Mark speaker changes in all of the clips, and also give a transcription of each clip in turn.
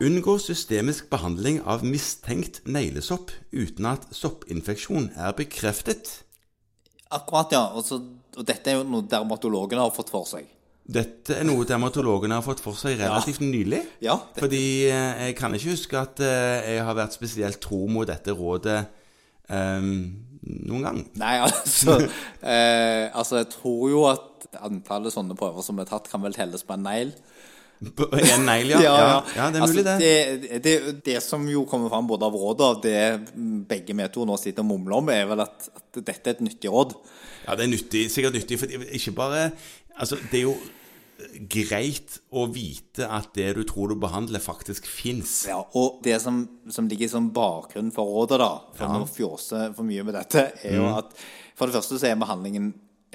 Speaker 1: Unngå systemisk behandling av mistenkt neglesopp uten at soppinfeksjon er bekreftet.
Speaker 2: Akkurat, ja. Og, så, og dette er jo noe dermatologene har fått for seg.
Speaker 1: Dette er noe dermatologene har fått for seg relativt nylig.
Speaker 2: Ja, det-
Speaker 1: Fordi eh, jeg kan ikke huske at eh, jeg har vært spesielt tro mot dette rådet eh, noen gang.
Speaker 2: Nei, altså eh, Altså, jeg tror jo at antallet sånne prøver som er tatt, kan vel telles på en negl.
Speaker 1: På En negl, ja. ja. Ja, det er mulig, det.
Speaker 2: Altså, det. Det, det som jo kommer fram både av rådet og av det begge vi to nå sitter og mumler om, er vel at, at dette er et nyttig råd.
Speaker 1: Ja, det er nyttig, sikkert nyttig, for ikke bare Altså, det er jo greit å vite at det du tror du behandler, faktisk fins.
Speaker 2: Ja, og det som, som ligger som bakgrunn for rådet, da, for å fjåse for mye med dette, er
Speaker 1: Mm.
Speaker 2: jo at for det første så er behandlingen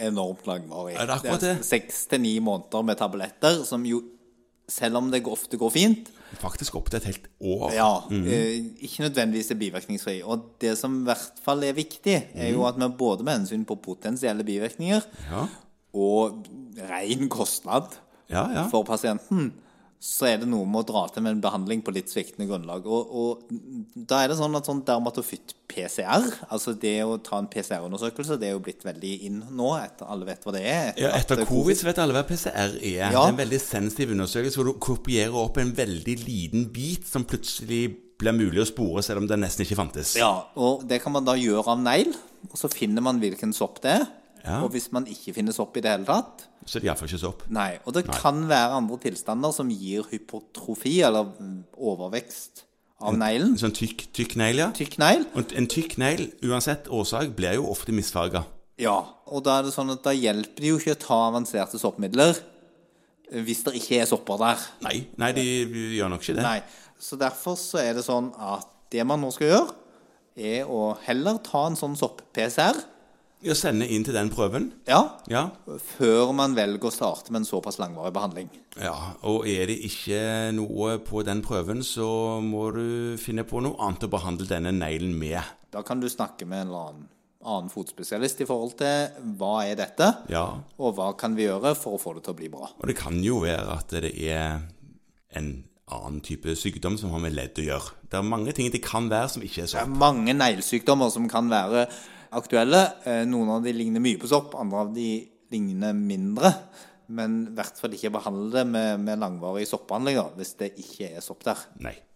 Speaker 2: enormt langvarig.
Speaker 1: Er det akkurat det?
Speaker 2: Seks til ni måneder med tabletter, som jo, selv om det ofte går fint,
Speaker 1: Faktisk opp til et helt år.
Speaker 2: Ja, eh, ikke nødvendigvis er bivirkningsfri. Og det som i hvert fall er viktig, er
Speaker 1: Mm.
Speaker 2: jo at vi både med hensyn på potensielle bivirkninger
Speaker 1: Ja,
Speaker 2: og ren kostnad
Speaker 1: ja. ja.
Speaker 2: for pasienten, så er det noe med å dra til med en behandling på litt sviktende grunnlag. Og, og da er det sånn at sånn dermatofytt-PCR, altså det å ta en PCR-undersøkelse, det er jo blitt veldig inn nå, etter alle vet hva det er.
Speaker 1: Ja, etter
Speaker 2: at eh,
Speaker 1: covid så vet alle hva PCR er. Det
Speaker 2: Ja.
Speaker 1: er en veldig sensitiv undersøkelse hvor du kopierer opp en veldig liten bit som plutselig blir mulig å spore, selv om den nesten ikke fantes.
Speaker 2: Ja, og det kan man da gjøre av negl, og så finner man hvilken sopp det er.
Speaker 1: Ja.
Speaker 2: Og hvis man ikke finner sopp i det hele tatt,
Speaker 1: Så det er iallfall ikke så opp.
Speaker 2: Nei, og det kan være andre tilstander som gir hypotrofi, eller mm, overvekst av neglen.
Speaker 1: En sånn tykk, tykk negl, ja.
Speaker 2: Tykk negl.
Speaker 1: Og En tykk negl, uansett årsak, blir jo ofte misfarga.
Speaker 2: Ja. Og da er det sånn at da hjelper det jo ikke å ta avanserte soppmidler eh, hvis det ikke er sopper der.
Speaker 1: Nei, nei, de gjør nok ikke det.
Speaker 2: Nei. Så derfor så er det sånn at det man nå skal gjøre, er å heller ta en sånn sopp-PCR,
Speaker 1: Å sende inn til den prøven,
Speaker 2: ja,
Speaker 1: ja.
Speaker 2: før man velger å starte med en såpass langvarig behandling.
Speaker 1: ja. Og er det ikke noe på den prøven, så må du finne på noe annet å behandle denne neglen med.
Speaker 2: Da kan du snakke med en eller annen, annen fotspesialist i forhold til hva er dette,
Speaker 1: Ja.
Speaker 2: og hva kan vi gjøre for å få det til å bli bra.
Speaker 1: Og det kan jo være at det er en annen type sykdom som har med ledd å gjøre. Det er mange ting det kan være som ikke er
Speaker 2: Det er
Speaker 1: sånn.
Speaker 2: mange neglesykdommer som kan være aktuelle. Eh, Noen av de ligner mye på sopp, andre av de ligner mindre. Men i hvert fall ikke behandle det med, med langvarig soppbehandling da, hvis det ikke er sopp der.
Speaker 1: Nei.